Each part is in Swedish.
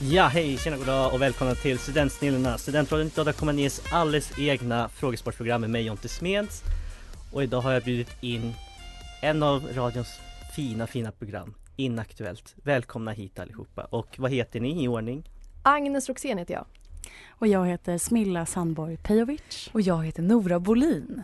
Ja, hej, tjena, goddag och välkomna till Studentsnillena Studentradion 98,9s alldeles egna frågesportprogram med mig Jonte Smeds Och idag har jag bjudit in en av radions fina, fina program Inaktuellt Välkomna hit allihopa och vad heter ni i ordning? Agnes Roxén heter jag. Och jag heter Smilla Sandborg Pejovic. Och jag heter Nora Bolin.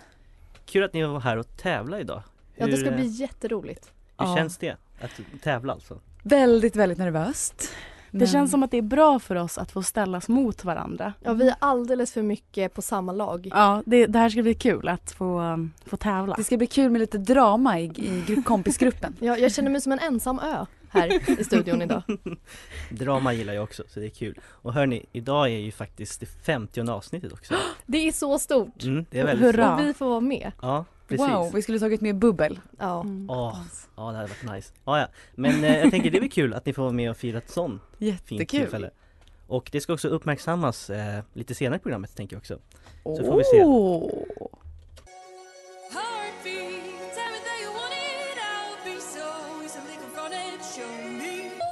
Kul att ni var här och tävla idag Ja, det ska eh, bli jätteroligt. hur Ja. känns det? Att tävla alltså? Väldigt, väldigt nervöst. Det känns som att det är bra för oss att få ställas mot varandra. Ja, vi är alldeles för mycket på samma lag. Ja, det, det här ska bli kul att få, um, få tävla. Det ska bli kul med lite drama i, i grupp, kompisgruppen. Ja, jag känner mig som en ensam ö här i studion idag. Drama gillar jag också, så det är kul Och hörni, idag är ju faktiskt det 50 avsnittet också Det är så stort mm, Det är väldigt Hurra. och vi får vara med. Ja, precis Wow, vi skulle tagit med bubbel. Ja. Mm. Ja, ja det hade varit nice. Ja, ja. Men eh, jag tänker det är väl kul att ni får vara med och fira ett sånt fint tillfälle. Och det ska också uppmärksammas eh, lite senare i programmet tänker jag också. Så får vi se. Åh.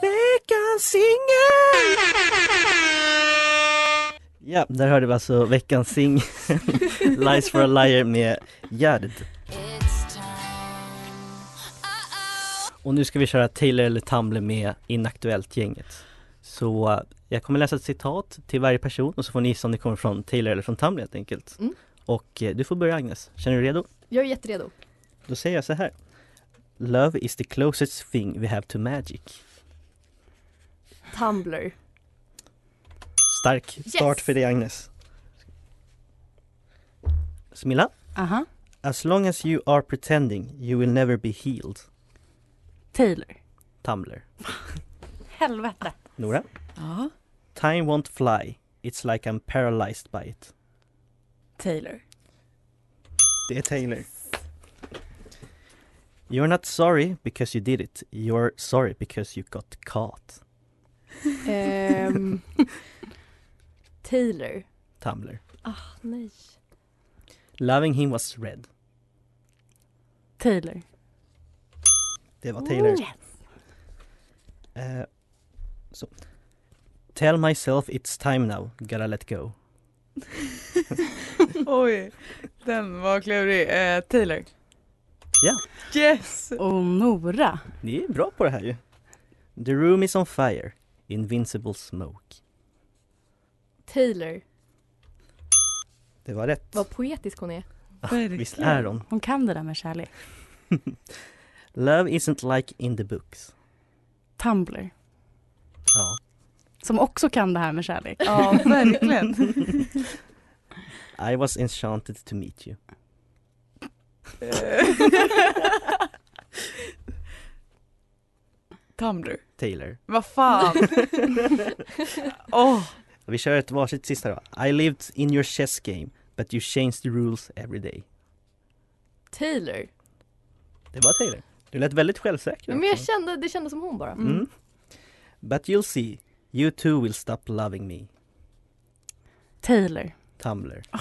Veckans singel! Ja, där hörde vi alltså veckans singel Lies for a liar med Gerd. Och nu ska vi köra Taylor eller Tamble med Inaktuellt-gänget. Så eh, jag kommer läsa ett citat till varje person och så får ni gissa om det kommer från Taylor eller från Tamble helt enkelt. Mm. Och eh, du får börja Agnes, känner du dig redo? Jag är jätteredo. Då säger jag så här. Love is the closest thing we have to magic. Tumblr. Stark start för dig Agnes. Smilla. Aha. As long as you are pretending you will never be healed. Taylor. Tumblr. Helvete. Nora. Ja, Time won't fly. It's like I'm paralyzed by it. Taylor. Det är Taylor. You're not sorry because you did it. You're sorry because you got caught. Ehm, Taylor. Tumblr. Ah, nej. Loving him was red. Taylor. Det var Taylor. Eh, så. Tell myself it's time now, gotta let go. Oj, den var klurig. Eh, Taylor. Ja. Yes! Och Nora. Ni är bra på det här ju. The room is on fire, invincible smoke. Taylor. Det var rätt. Vad poetisk hon är. Visst är hon? Hon kan det där med kärlek. Love isn't like in the books. Tumblr. Ja. Som också kan det här med kärlek. Ja, verkligen. I was enchanted to meet you. Tumblr. Taylor. Vad fan. Åh, Vi kör ett varsitt sista då. I lived in your chess game, but you changed the rules every day. Taylor. Det var Taylor. Du lät väldigt självsäker. Men jag också. kände, det kändes som hon bara. Mm. But you'll see, you too will stop loving me. Taylor. Tumblr. Ah.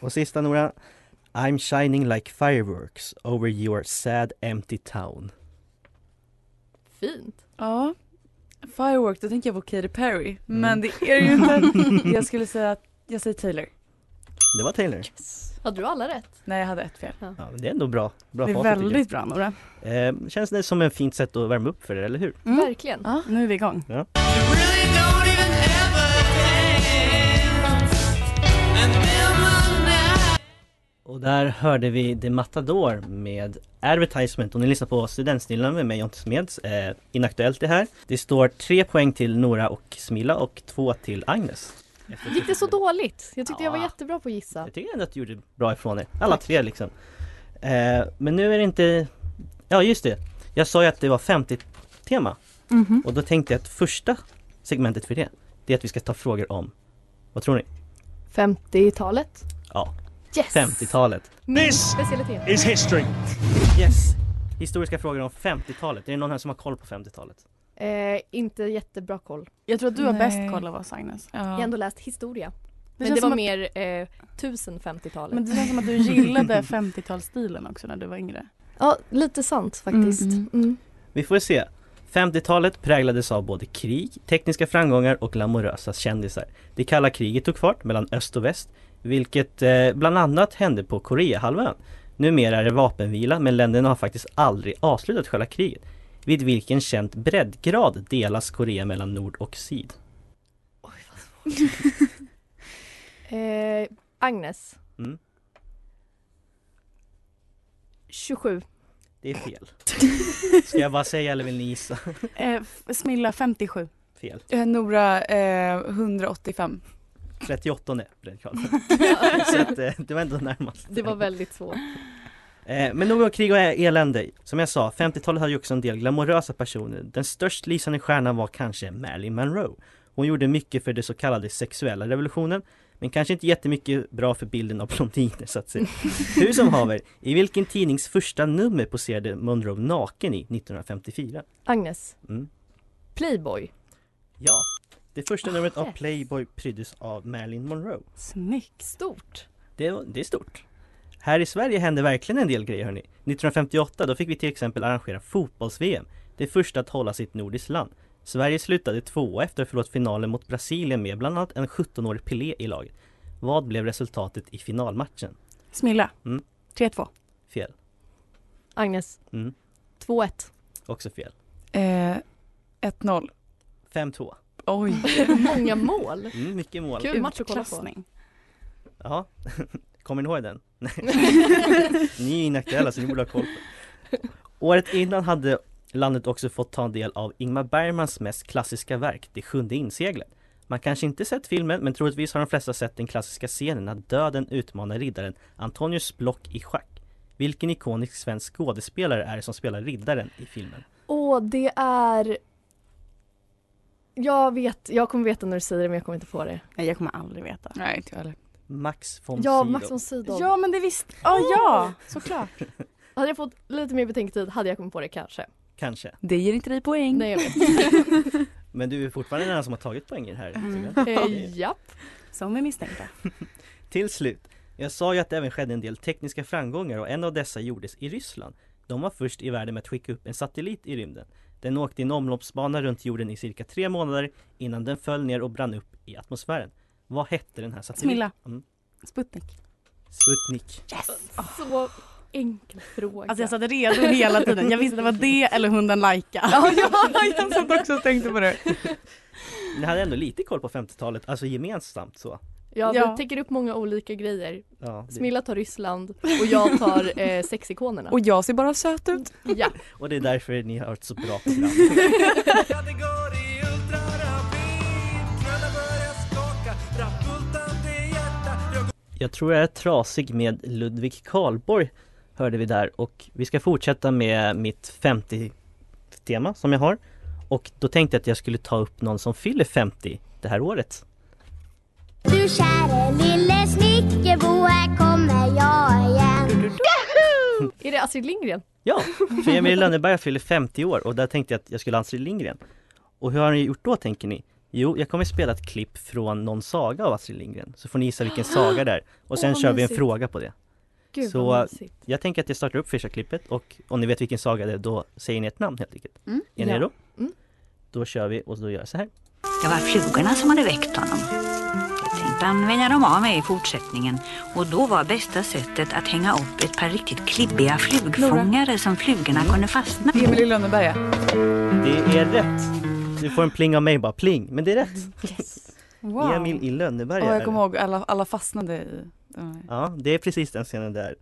Och sista Nora. I'm shining like fireworks over your sad empty town. Fint. Ja, Firework, då tänker jag på Katy Perry. Men det är det ju inte. Jag skulle säga att jag säger Taylor. Det var Taylor. Hade du alla rätt? Nej, jag hade ett fel. Ja, men det är ändå bra. Bra Det är facit, tycker väldigt bra Nora. jag. Eh, känns det som ett fint sätt att värma upp för det, eller hur? Mm. Verkligen. Ja. Nu är vi igång. Really don't even ever dance, and then my där hörde vi The Matador med Advertisement och ni lyssnar på Studentsnillan med mig Jonte Smeds. Eh, inaktuellt det här. Det står tre poäng till Nora och Smilla och två till Agnes. Gick det så dåligt? Jag tyckte jag var Ja. jättebra på att gissa. Jag tycker ändå att du gjorde bra ifrån er. Alla tre liksom. Eh, men nu är det inte... Ja just det. Jag sa ju att det var 50 tema. Mhm. Och då tänkte jag att första segmentet för det, det är att vi ska ta frågor om, vad tror ni? 50-talet? Ja, Yes! 50-talet. This Specialitet. is history. Yes! Historiska frågor om 50-talet. Är det någon här som har koll på 50-talet? Eh, inte jättebra koll. Jag tror att du har Nej. bäst koll av oss Agnes. Jag har ändå läst historia. Det Men känns det var som att- mer eh, 1050-talet. Men det känns som att du gillade 50-talsstilen också när du var yngre. Ja, lite sant faktiskt. Mm, Mm, Vi får se. 50-talet präglades av både krig, tekniska framgångar och glamorösa kändisar. Det kalla kriget tog fart mellan öst och väst, vilket eh, bland annat hände på Koreahalvön. Numera är det vapenvila, men länderna har faktiskt aldrig avslutat själva kriget, vid vilken känd breddgrad delas Korea mellan nord och syd. Eh, Agnes. Mm. 27. Det är fel. Ska jag bara säga eller vill ni gissa? Eh, f- Smilla 57. Fel. Eh, Nora eh, 185. 38 breddgrad. Så att, eh, det var ändå närmast. det var väldigt svårt. Eh, Men nog om krig och ä- elände. Som jag sa, 50-talet hade ju också en del glamorösa personer. Den störst lysande stjärnan var kanske Marilyn Monroe. Hon gjorde mycket för den så kallade sexuella revolutionen, men kanske inte jättemycket bra för bilden av blondiner så att säga. Hur som haver, i vilken tidnings första nummer poserade Monroe naken i 1954? Agnes. Mm. Playboy. Ja, det första numret av Yes. Playboy pryddes av Marilyn Monroe. Snyggt. Stort. Det, det är stort. Här i Sverige hände verkligen en del grejer hörni. 1958 då fick vi till exempel arrangera fotbolls-VM. Det första att hålla sitt nordiskt land. Sverige slutade tvåa efter att ha förlorat finalen mot Brasilien med bland annat en 17-årig Pelé i laget. Vad blev resultatet i finalmatchen? Smilla. Mm. 3-2. Fel. Agnes. Mm. 2-1. Också fel. Eh, 1-0. 5-2. Oj. Många mål. Mm, mycket mål. Kul match att kolla på. Utklassning. Ja. Kommer ni ihåg den? Nej. ni är inaktuella så ni borde ha koll på Året innan hade landet också fått ta del av Ingmar Bergmans mest klassiska verk, Det sjunde inseglet. Man kanske inte sett filmen, men troligtvis har de flesta sett den klassiska scenen när döden utmanar riddaren Antonius Block i schack. Vilken ikonisk svensk skådespelare är det som spelar riddaren i filmen? Och det är... Jag vet, jag kommer veta när du säger det men jag kommer inte på det. Nej jag kommer aldrig veta. Nej, inte jag heller. Max von Ja, Sydow. Max von Sydow. Ja men det visste... Ja, Oh! ja! Såklart. Hade jag fått lite mer betänketid hade jag kommit på det kanske. Kanske. Det ger inte dig poäng. Nej jag vet. Men du är fortfarande den som har tagit poäng i det här. Sylvia. Eh, japp. Mm. Som vi misstänkte. Till slut, jag sa ju att det även skedde en del tekniska framgångar och en av dessa gjordes i Ryssland. De var först i världen med att skicka upp en satellit i rymden. Den åkte i en omloppsbana runt jorden i cirka tre månader innan den föll ner och brann upp i atmosfären. Vad hette den här satelliten? Smilla. Mm. Sputnik. Sputnik. Så enkel fråga. Alltså jag satt redo hela tiden. Jag visste det var det eller hunden Laika. Ja, ja, jag satt också och tänkte på det. Ni hade ändå lite koll på 50-talet, alltså gemensamt så. ja, Ja. vi täcker upp många olika grejer. Ja, det, Smilla tar Ryssland och jag tar eh, sexikonerna. Och jag ser bara söt ut. Ja. och det är därför ni har ett så bra program. Jag tror jag är trasig med Ludvig Karlborg Hörde vi där och vi ska fortsätta med mitt 50-tema som jag har Och då tänkte jag att jag skulle ta upp någon som fyller 50 det här året Du käre lille snickerbo, här kommer jag igen. Är det Astrid Lindgren? Ja, för Emil i Lönneberga fyller 50 år och där tänkte jag att jag skulle ha Astrid Lindgren Och hur har ni gjort då tänker ni? Jo, jag kommer spela ett klipp från någon saga av Astrid Lindgren Så får ni gissa vilken saga det är Och sen Åh, vad kör vi en mysigt. fråga på det Gud Så- vad mysigt. Jag tänker att jag startar upp första klippet och om ni vet vilken saga det är då säger ni ett namn helt enkelt. Är ni Ja. redo? Mm. Då kör vi och då gör jag så här. Det var flugorna som hade väckt honom. Jag tänkte använda dem av mig i fortsättningen och då var bästa sättet att hänga upp ett par riktigt klibbiga flugfångare som flugorna Mm. kunde fastna på. Emil i Lönneberga. Det är rätt! Du får en pling av mig bara, pling, men det är rätt! Emil i Lönneberga Ja, är jag det. kommer ihåg alla, alla fastnade i Ja. Ja, det är precis den scenen där.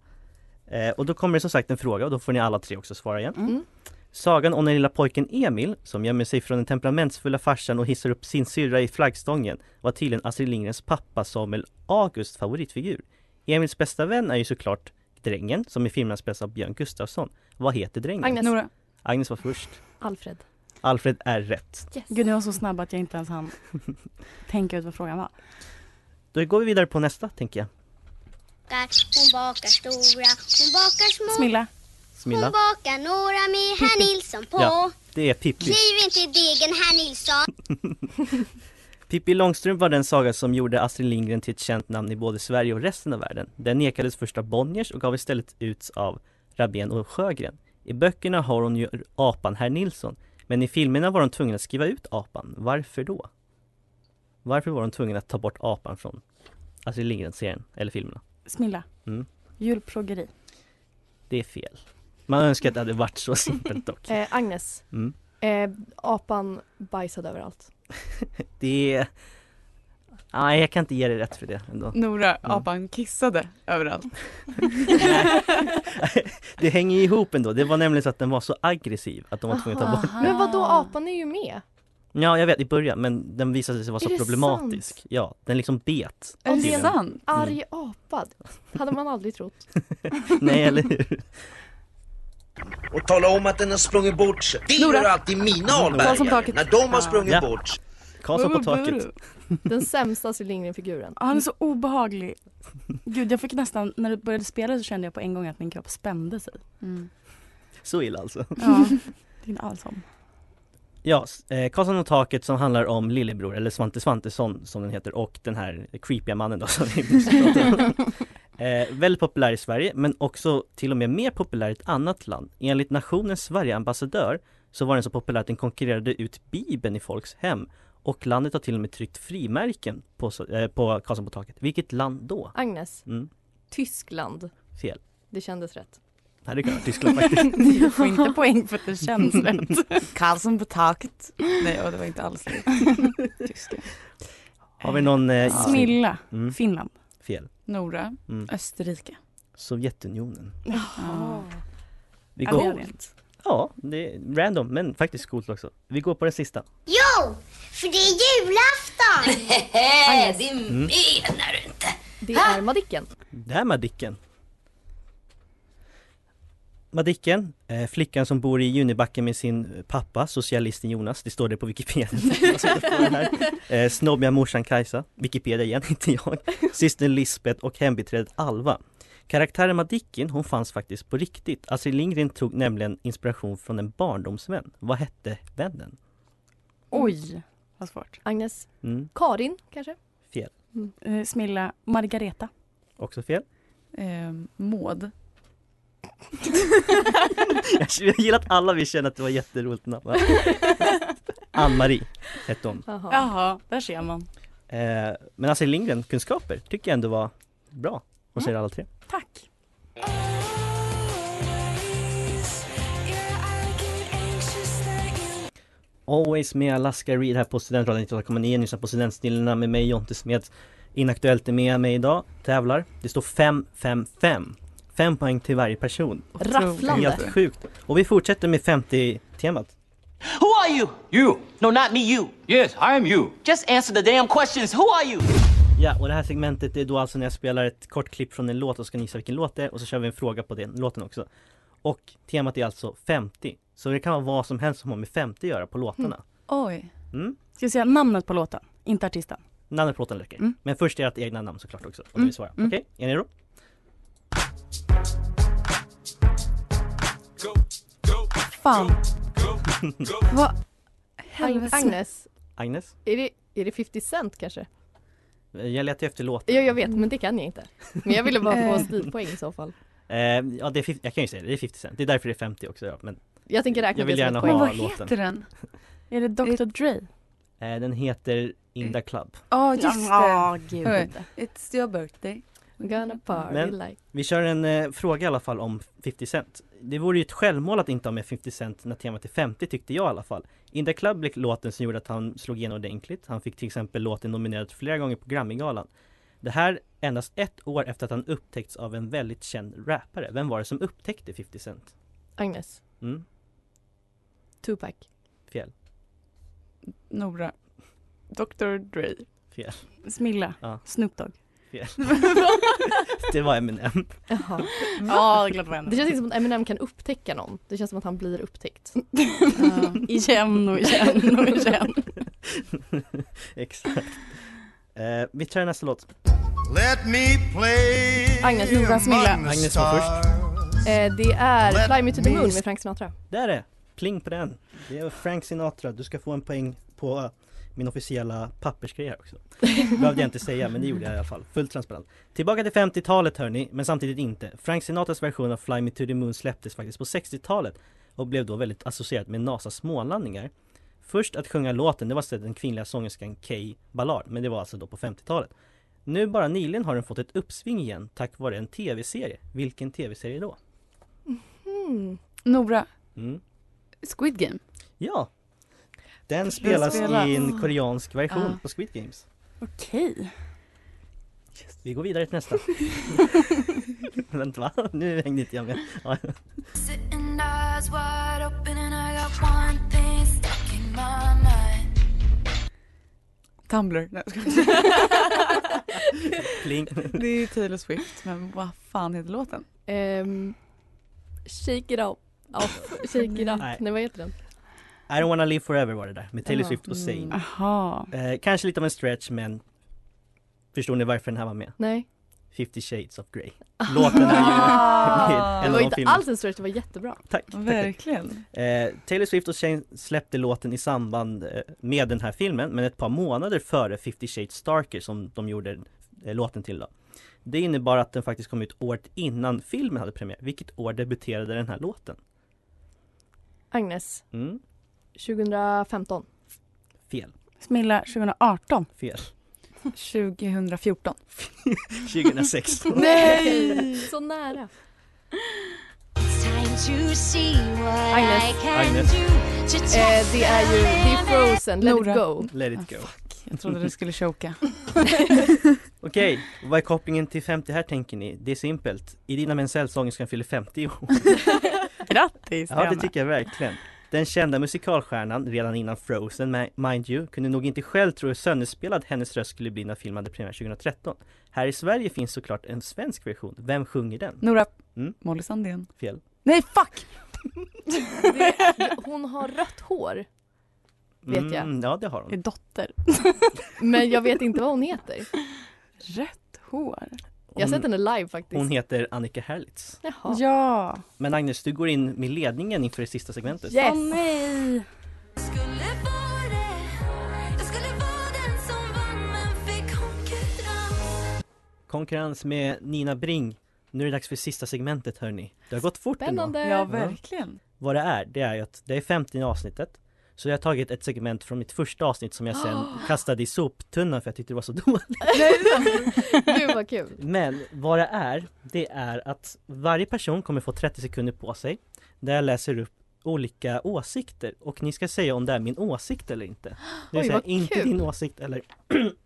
Eh, och då kommer det som sagt en fråga och då får ni alla tre också svara igen. Mm. Sagan om den lilla pojken Emil som gömmer sig från den temperamentsfulla farsan och hissar upp sin syrra i flaggstången var tydligen Astrid Lindgrens pappa Samuel Augusts favoritfigur. Emils bästa vän är ju såklart drängen som i filmen spelas av Björn Gustafsson. Vad heter drängen? Agnes. Nora. Agnes var först. Alfred. Alfred är rätt. Yes. Gud, ni var så snabb att jag inte ens hann tänka ut vad frågan var. Då går vi vidare på nästa tänker jag. Hon bakar stora, hon bakar små. Smilla. Smilla. bakar några med herr Nilsson på. Ja. Det är Pippi. Kliv inte i degen herr Nilsson. Pippi Långstrump var den saga som gjorde Astrid Lindgren till ett känt namn i både Sverige och resten av världen. Den nekades först av Bonniers och gav istället ut av Rabén och Sjögren. I böckerna har hon ju apan Herr Nilsson, men i filmerna var de tvungna att skriva ut apan. Varför då? Varför var de tvungna att ta bort apan från Astrid Lindgren-serien, eller filmerna? Smilla. Mm. Julplågeri. Det är fel. Man önskar att det hade varit så simpelt dock. Eh, Agnes. Mm. Eh, apan bajsade överallt. Det är... Nej, jag kan inte ge dig rätt för det ändå. Nora, Mm. apan kissade överallt. Det hänger ju ihop ändå. Det var nämligen så att den var så aggressiv att de var tvungna att ta bort Men vad då apan är ju med. Ja, jag vet i början, men den visade sig vara Är så det problematisk. Ja, den liksom bet. Är det Tydligen. sant? Arg Mm. apa. Hade man aldrig trott. Nej, eller hur? Och tala om att den har sprungit bort sig. Det Nora. gör alltid mina Karlsson på albergare taket. när de har sprungit Ja. bort sig. Karlsson på taket. Den sämsta Astrid Lindgren-figuren. Ja, Han är så obehaglig. Gud, jag fick nästan, när du började spela så kände jag på en gång att min kropp spände sig. Mm. Så illa alltså. Ja. Din allsång. Ja, s- eh, Karlsson på taket som handlar om Lillebror, eller Svante Svantesson som den heter, och den här creepiga mannen då som vi precis pratade om. Eh, väldigt populär i Sverige, men också till och med mer populär i ett annat land. Enligt nationen Sverige-ambassadör så var den så populär att den konkurrerade ut Bibeln i folks hem. Och landet har till och med tryckt frimärken på, så- eh, på Karlsson på taket. Vilket land då? Agnes. Mm. Tyskland. Fel. Det kändes rätt. Nej det kan vara Tyskland faktiskt. Du får inte poäng för att det känns rätt. Karlsson på taket. Nej, och det var inte alls det. Tyska. Har vi någon eh, gissning? Smilla. Mm, Finland. fel. Nora. Mm. Österrike. Sovjetunionen. Ja. Vi Är det går... rent? Ja, det är random men faktiskt coolt också. Vi går på den sista. Jo, för det är julafton. Agnes. Det menar du inte. Det är Madicken. Det här Madicken. Madicken, eh, flickan som bor i Junibacken med sin pappa, socialisten Jonas. Det står det på Wikipedia. Jag sitter på den här. eh, snobbiga morsan Kajsa, Wikipedia igen, inte jag. Systern Lisbeth och hembiträdet Alva. Karaktären Madicken, hon fanns faktiskt på riktigt. Astrid Lindgren tog nämligen inspiration från en barndomsvän. Vad hette vännen? Oj, Mm. vad svårt. Agnes. Mm, Karin kanske? fel. Eh, Smilla. Margareta. Också fel. Eh, Maud. Jag gillar att alla vi känner att det var jätteroligt namn. va? Ann-Marie hette hon. Jaha. Jaha, där ser man. Eh, men Astrid Lindgren, kunskaper, tycker jag ändå var bra. Hon säger alla tre. Tack. Always med Alaska Reed här på Studentradion 98,9. Ni lyssnar på Studentsnillena med mig Jonte Smeds. Inaktuellt är med mig idag, tävlar. Det står 5-5-5. 5 poäng till varje person. Rafflande. Helt sjukt. Och vi fortsätter med 50-temat. Who are you? You. No, not me, you. Yes, I am you. Just answer the damn questions. Who are you? Ja, och det här segmentet är då alltså när jag spelar ett kort klipp från en låt och ska ni gissa vilken låt det är och så kör vi en fråga på den låten också. Och temat är alltså 50. Så det kan vara vad som helst som har med 50 att göra på låtarna. Oj. Mm. Ska jag säga namnet på låten? Inte artisten. Namnet på låten räcker. Mm. Men först ert egna namn såklart också. Om ni Mm. vill svara. Mm. Okej, är ni redo? Fan. Vad? Ag- Helvete. Agnes. Agnes? Eh, Är det, är det 50 Cent kanske? Jag letar efter låten. Ja, jag vet, men det kan jag inte. Men jag ville bara få Eh. stilpoäng i så fall. Eh, ja, det är 50, jag kan ju säga det. Det är 50 Cent. Det är därför det är 50 också. Ja. Men Jag tänker räkna Jag vill det som gärna ett Men poäng. ha- vad låten. heter den? Är det Dr Dre? eh, den heter In the Club. Ja, just det. Ja, gud. Okej. It's your birthday. Gonna party Men- like... Vi kör en eh, fråga i alla fall om 50 Cent. Det vore ju ett självmål att inte ha med 50 Cent när temat är 50 tyckte jag i alla fall. In the Club blev låten som gjorde att han slog igenom ordentligt. Han fick till exempel låten nominerad flera gånger på Grammygalan. Det här endast ett år efter att han upptäckts av en väldigt känd rappare. Vem var det som upptäckte 50 Cent? Agnes. Mm, Tupac. fel. Nora. Dr Dre. Fel. Smilla. Ja. Snoop Dogg. Fel. Det var Eminem. Jaha. Ja, det är klart Mm. det var Eminem. Det känns inte som att Eminem kan upptäcka någon. Det känns som att han blir upptäckt. Ja, igen och igen och igen. Exakt. Eh, vi tar nästa låt. Let me play Agnes. Jonas Milla. Agnes var först. Eh, det är Fly Me To The me Moon s- med Frank Sinatra. Där är det! Pling på den! Det är Frank Sinatra. Du ska få en poäng på min officiella pappersgrej här också. Det behövde jag inte säga men det gjorde jag i alla fall. Fullt transparent. Tillbaka till 50-talet hörni, men samtidigt inte. Frank Sinatras version av Fly Me To The Moon släpptes faktiskt på 60-talet och blev då väldigt associerad med NASAs månlandningar. Först att sjunga låten, det var så den kvinnliga sångerskan Kay Ballard, men det var alltså då på 50-talet. Nu bara nyligen har den fått ett uppsving igen tack vare en tv-serie. Vilken tv-serie då? Hmm. Nora. Mm. Squid Game. Ja! Den spelas spelas. i en koreansk version Ah. på Squid Games. Okej. Vi går vidare till nästa. Vänta va? Nu hängde inte jag med. Ja. Sitting eyes wide open and I got one thing stuck in my mind. Tumblr. Nej, jag skojar. Pling. Det är Taylor Swift, men vad fan heter låten? Ehm, shake it up. Off. Shake it up. Nej. Nej. vad heter den? I don't wanna live forever var det där med Taylor Jaha. Swift och Zayn. Jaha. Eh, kanske lite av en stretch men förstår ni varför den här var med? Nej. 50 shades of Grey. Låten är ju med Det en av var de inte filmerna. alls en stretch, det var jättebra. Tack, tack, tack. Mm. Verkligen. Eh, Taylor Swift och Zayn släppte låten i samband eh, med den här filmen men ett par månader före 50 Shades Darker som de gjorde eh, låten till då. Det innebar att den faktiskt kom ut året innan filmen hade premiär. Vilket år debuterade den här låten? Agnes, Mm, 2015. fel, Smilla 2018. fel. 2014. 2016. Nej! Så nära. Agnes. Agnes. Eh, det är ju det är Frozen, Let Nora. it go. Let it go. Jag trodde du skulle choka. Okej, vad är kopplingen till 50 här tänker ni? Det är simpelt. Idina Menzel, sångerskan, fyller 50 i år. Grattis Ja, det Diana. tycker jag verkligen. Den kända musikalstjärnan, redan innan Frozen ma- mind you, kunde nog inte själv tro hur sönderspelad hennes röst skulle bli när filmen hade premiär 2013. Här i Sverige finns såklart en svensk version. Vem sjunger den? Nora. Mm. Molly Sandén. Fel. Nej, fuck! Det, hon har rött hår, Vet jag. Mm, ja, det har hon. dotter. men jag vet inte vad hon heter. Rött hår. Jag har sett Hon- henne live faktiskt. Hon heter Annika Herlitz. Jaha. Ja. Men Agnes, du går in med ledningen inför det sista segmentet. Yes. Åh nej. Konkurrens med Nina Bring. Nu är det dags för sista segmentet hörni. Det har gått fort ändå. Spännande. Eh. Ja, verkligen. Vad det är, det är ju att det är 50 avsnittet Så jag har tagit ett segment från mitt första avsnitt som jag sen kastade i soptunnan för jag tyckte det var så dåligt Gud vad kul. Men vad det är, det är att varje person kommer få 30 sekunder på sig Där jag läser upp olika åsikter och ni ska säga om det är min åsikt eller inte Det vill Oj, säga vad inte kul. din åsikt eller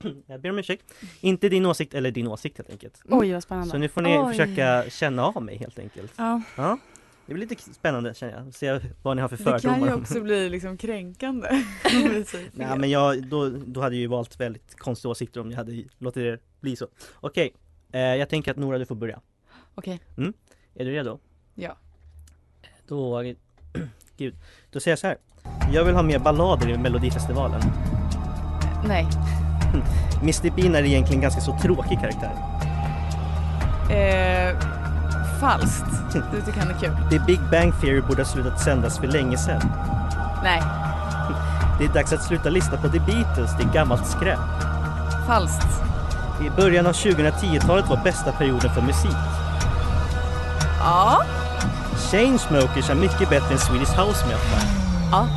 Jag ber om ursäkt Inte din åsikt eller din åsikt helt enkelt Oj vad spännande. Så nu får ni Oj. försöka känna av mig helt enkelt Ja. Ja, det blir lite spännande känner jag. Se vad ni har för Det kan ju fördomar. också bli liksom kränkande. om vi säger fel. Nej men jag, då, då hade jag ju valt väldigt konstiga åsikter om jag hade låtit det bli så. Okej, eh, jag tänker att Nora du får börja. Okej. Mm. Är du redo? Ja. Då, gud, då säger jag så här. Jag vill ha mer ballader i Melodifestivalen. Nej. Mr Bean är egentligen ganska så tråkig karaktär. Eh, falskt. Du tycker han är kul. The Big Bang Theory borde ha slutat sändas för länge sedan. Nej. Det är dags att sluta lyssna på The Beatles, det är gammalt skräp. Falskt. I början av 2010-talet var bästa perioden för musik. Ja. Chainsmokers är mycket bättre än Swedish House Metal. Ja.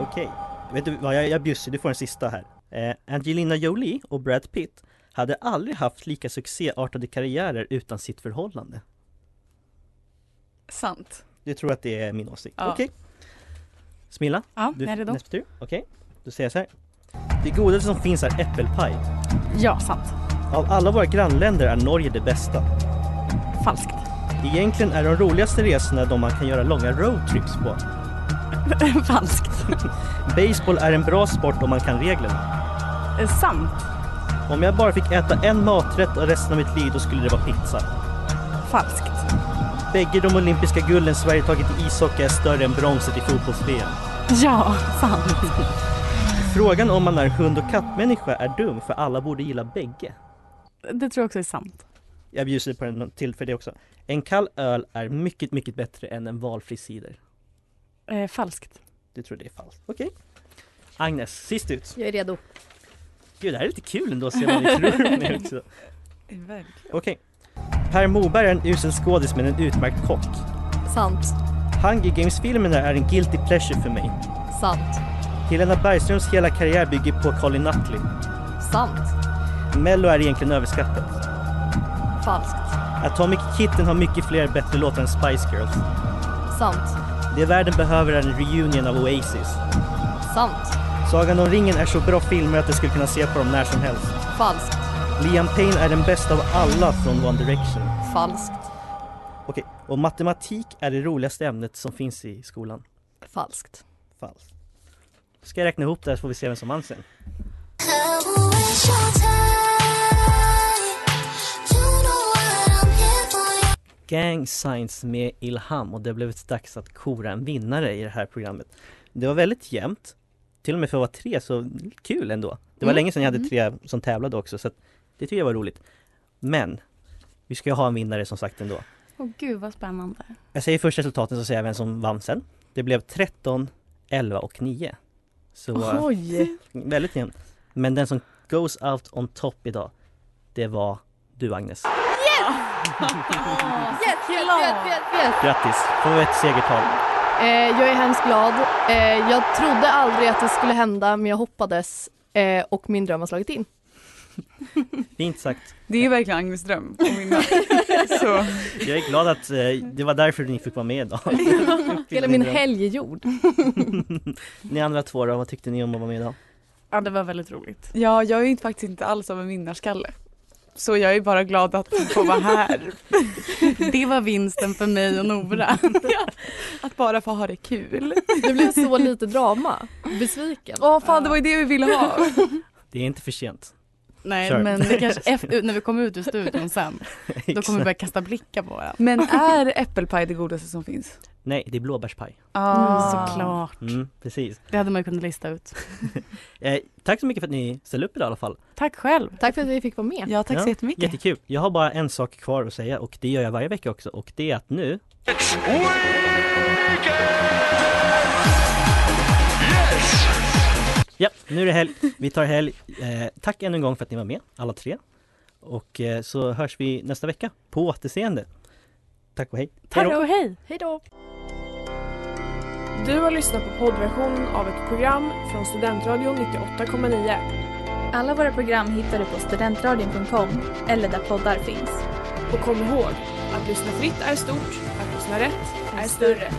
Okej, vet du vad, jag, jag bjussar, du får en sista här. Eh, Angelina Jolie och Brad Pitt hade aldrig haft lika succéartade karriärer utan sitt förhållande. Sant. Du tror att det är min åsikt? Ja. Okej. Smilla, Ja, du jag är redo. nästa tur. Okej, då säger jag så här. Det godaste som finns är äppelpaj. Ja, sant. Ja, Av alla våra grannländer är Norge det bästa. Falskt. Egentligen är de roligaste resorna de man kan göra långa roadtrips på. Falskt. Baseball är en bra sport om man kan reglerna. Eh, Sant. Om jag bara fick äta en maträtt resten av mitt liv då skulle det vara pizza. Falskt. Bägge de olympiska gulden Sverige tagit i ishockey är större än bronset i fotbolls-VM. Ja, sant. Frågan om man är hund och kattmänniska är dum för alla borde gilla bägge. Det tror jag också är sant. Jag bjuder på en till för det också. En kall öl är mycket, mycket bättre än en valfri cider. Eh, falskt. Du tror det är falskt? Okej. Agnes, sist ut. Jag är redo. Gud, det här är lite kul ändå att se vad ni tror med också. Verkligen. Okej. Per Moberg är en usel skådis men en utmärkt kock. Sant. Hunger Games-filmerna är en guilty pleasure för mig. Sant. Helena Bergströms hela karriär bygger på Colin Nutley. Sant. Mello är egentligen överskattat. Falskt. Atomic Kitten har mycket fler bättre låtar än Spice Girls. Sant. Det världen behöver är en reunion av Oasis. Sant. Sagan om ringen är så bra filmer att jag skulle kunna se på dem när som helst. Falskt. Liam Payne är den bästa av alla från One Direction. Falskt. Okej, och matematik är det roligaste ämnet som finns i skolan. Falskt. Falskt. Ska jag räkna ihop det här så får vi se vem som vann sen. Gang Science med Ilham och det blev dags att kora en vinnare i det här programmet. Det var väldigt jämnt. Till och med för att vara tre så kul ändå. Det var Mm. länge sedan jag hade Mm. tre som tävlade också så att det tycker jag var roligt. Men vi ska ju ha en vinnare som sagt ändå. Åh gud vad spännande. Jag säger först resultaten så säger jag vem som vann sen. Det blev 13, 11 och 9. Så Oj! väldigt jämnt. Men den som goes out on top idag, det var du Agnes. Yes, yes, yes, yes, yes. Grattis! Får vi ett segertal. Eh, jag är hemskt glad. Eh, jag trodde aldrig att det skulle hända men jag hoppades eh, och min dröm har slagit in. Fint sagt. Det är verkligen Agnes dröm att vinna. Så. Jag är glad att eh, det var därför ni fick vara med idag. Hela min helg är gjord. Ni andra två då, vad tyckte ni om att vara med idag? Ja det var väldigt roligt. Ja, jag är ju faktiskt inte alls av en vinnarskalle. Så jag är bara glad att få vara här. Det var vinsten för mig och Nora. Att bara få ha det kul. Det blev så lite drama. Besviken. Åh fan, det var ju det vi ville ha. Det är inte för sent. Nej Kör. men det kanske efter, när vi kommer ut ur studion sen. Då kommer vi börja kasta blickar på varandra. Men är äppelpaj det godaste som finns? Nej, det är blåbärspaj. Ah. Såklart. Mm, precis. Det hade man ju kunnat lista ut. Eh, tack så mycket för att ni ställde upp idag i alla fall. Tack själv. Tack för att vi fick vara med. Ja, tack så jättemycket. Jättekul. Jag har bara en sak kvar att säga och det gör jag varje vecka också och det är att nu Ja, nu är det helg. Vi tar helg. Eh, tack ännu en gång för att ni var med, alla tre. Och eh, så hörs vi nästa vecka. På återseende. Tack och hej. Hej Tack då. och hej. Hej då. Du har lyssnat på poddversionen av ett program från Studentradion 98,9. Alla våra program hittar du på studentradion.com eller där poddar finns. Och kom ihåg, att lyssna fritt är stort, att lyssna rätt är större.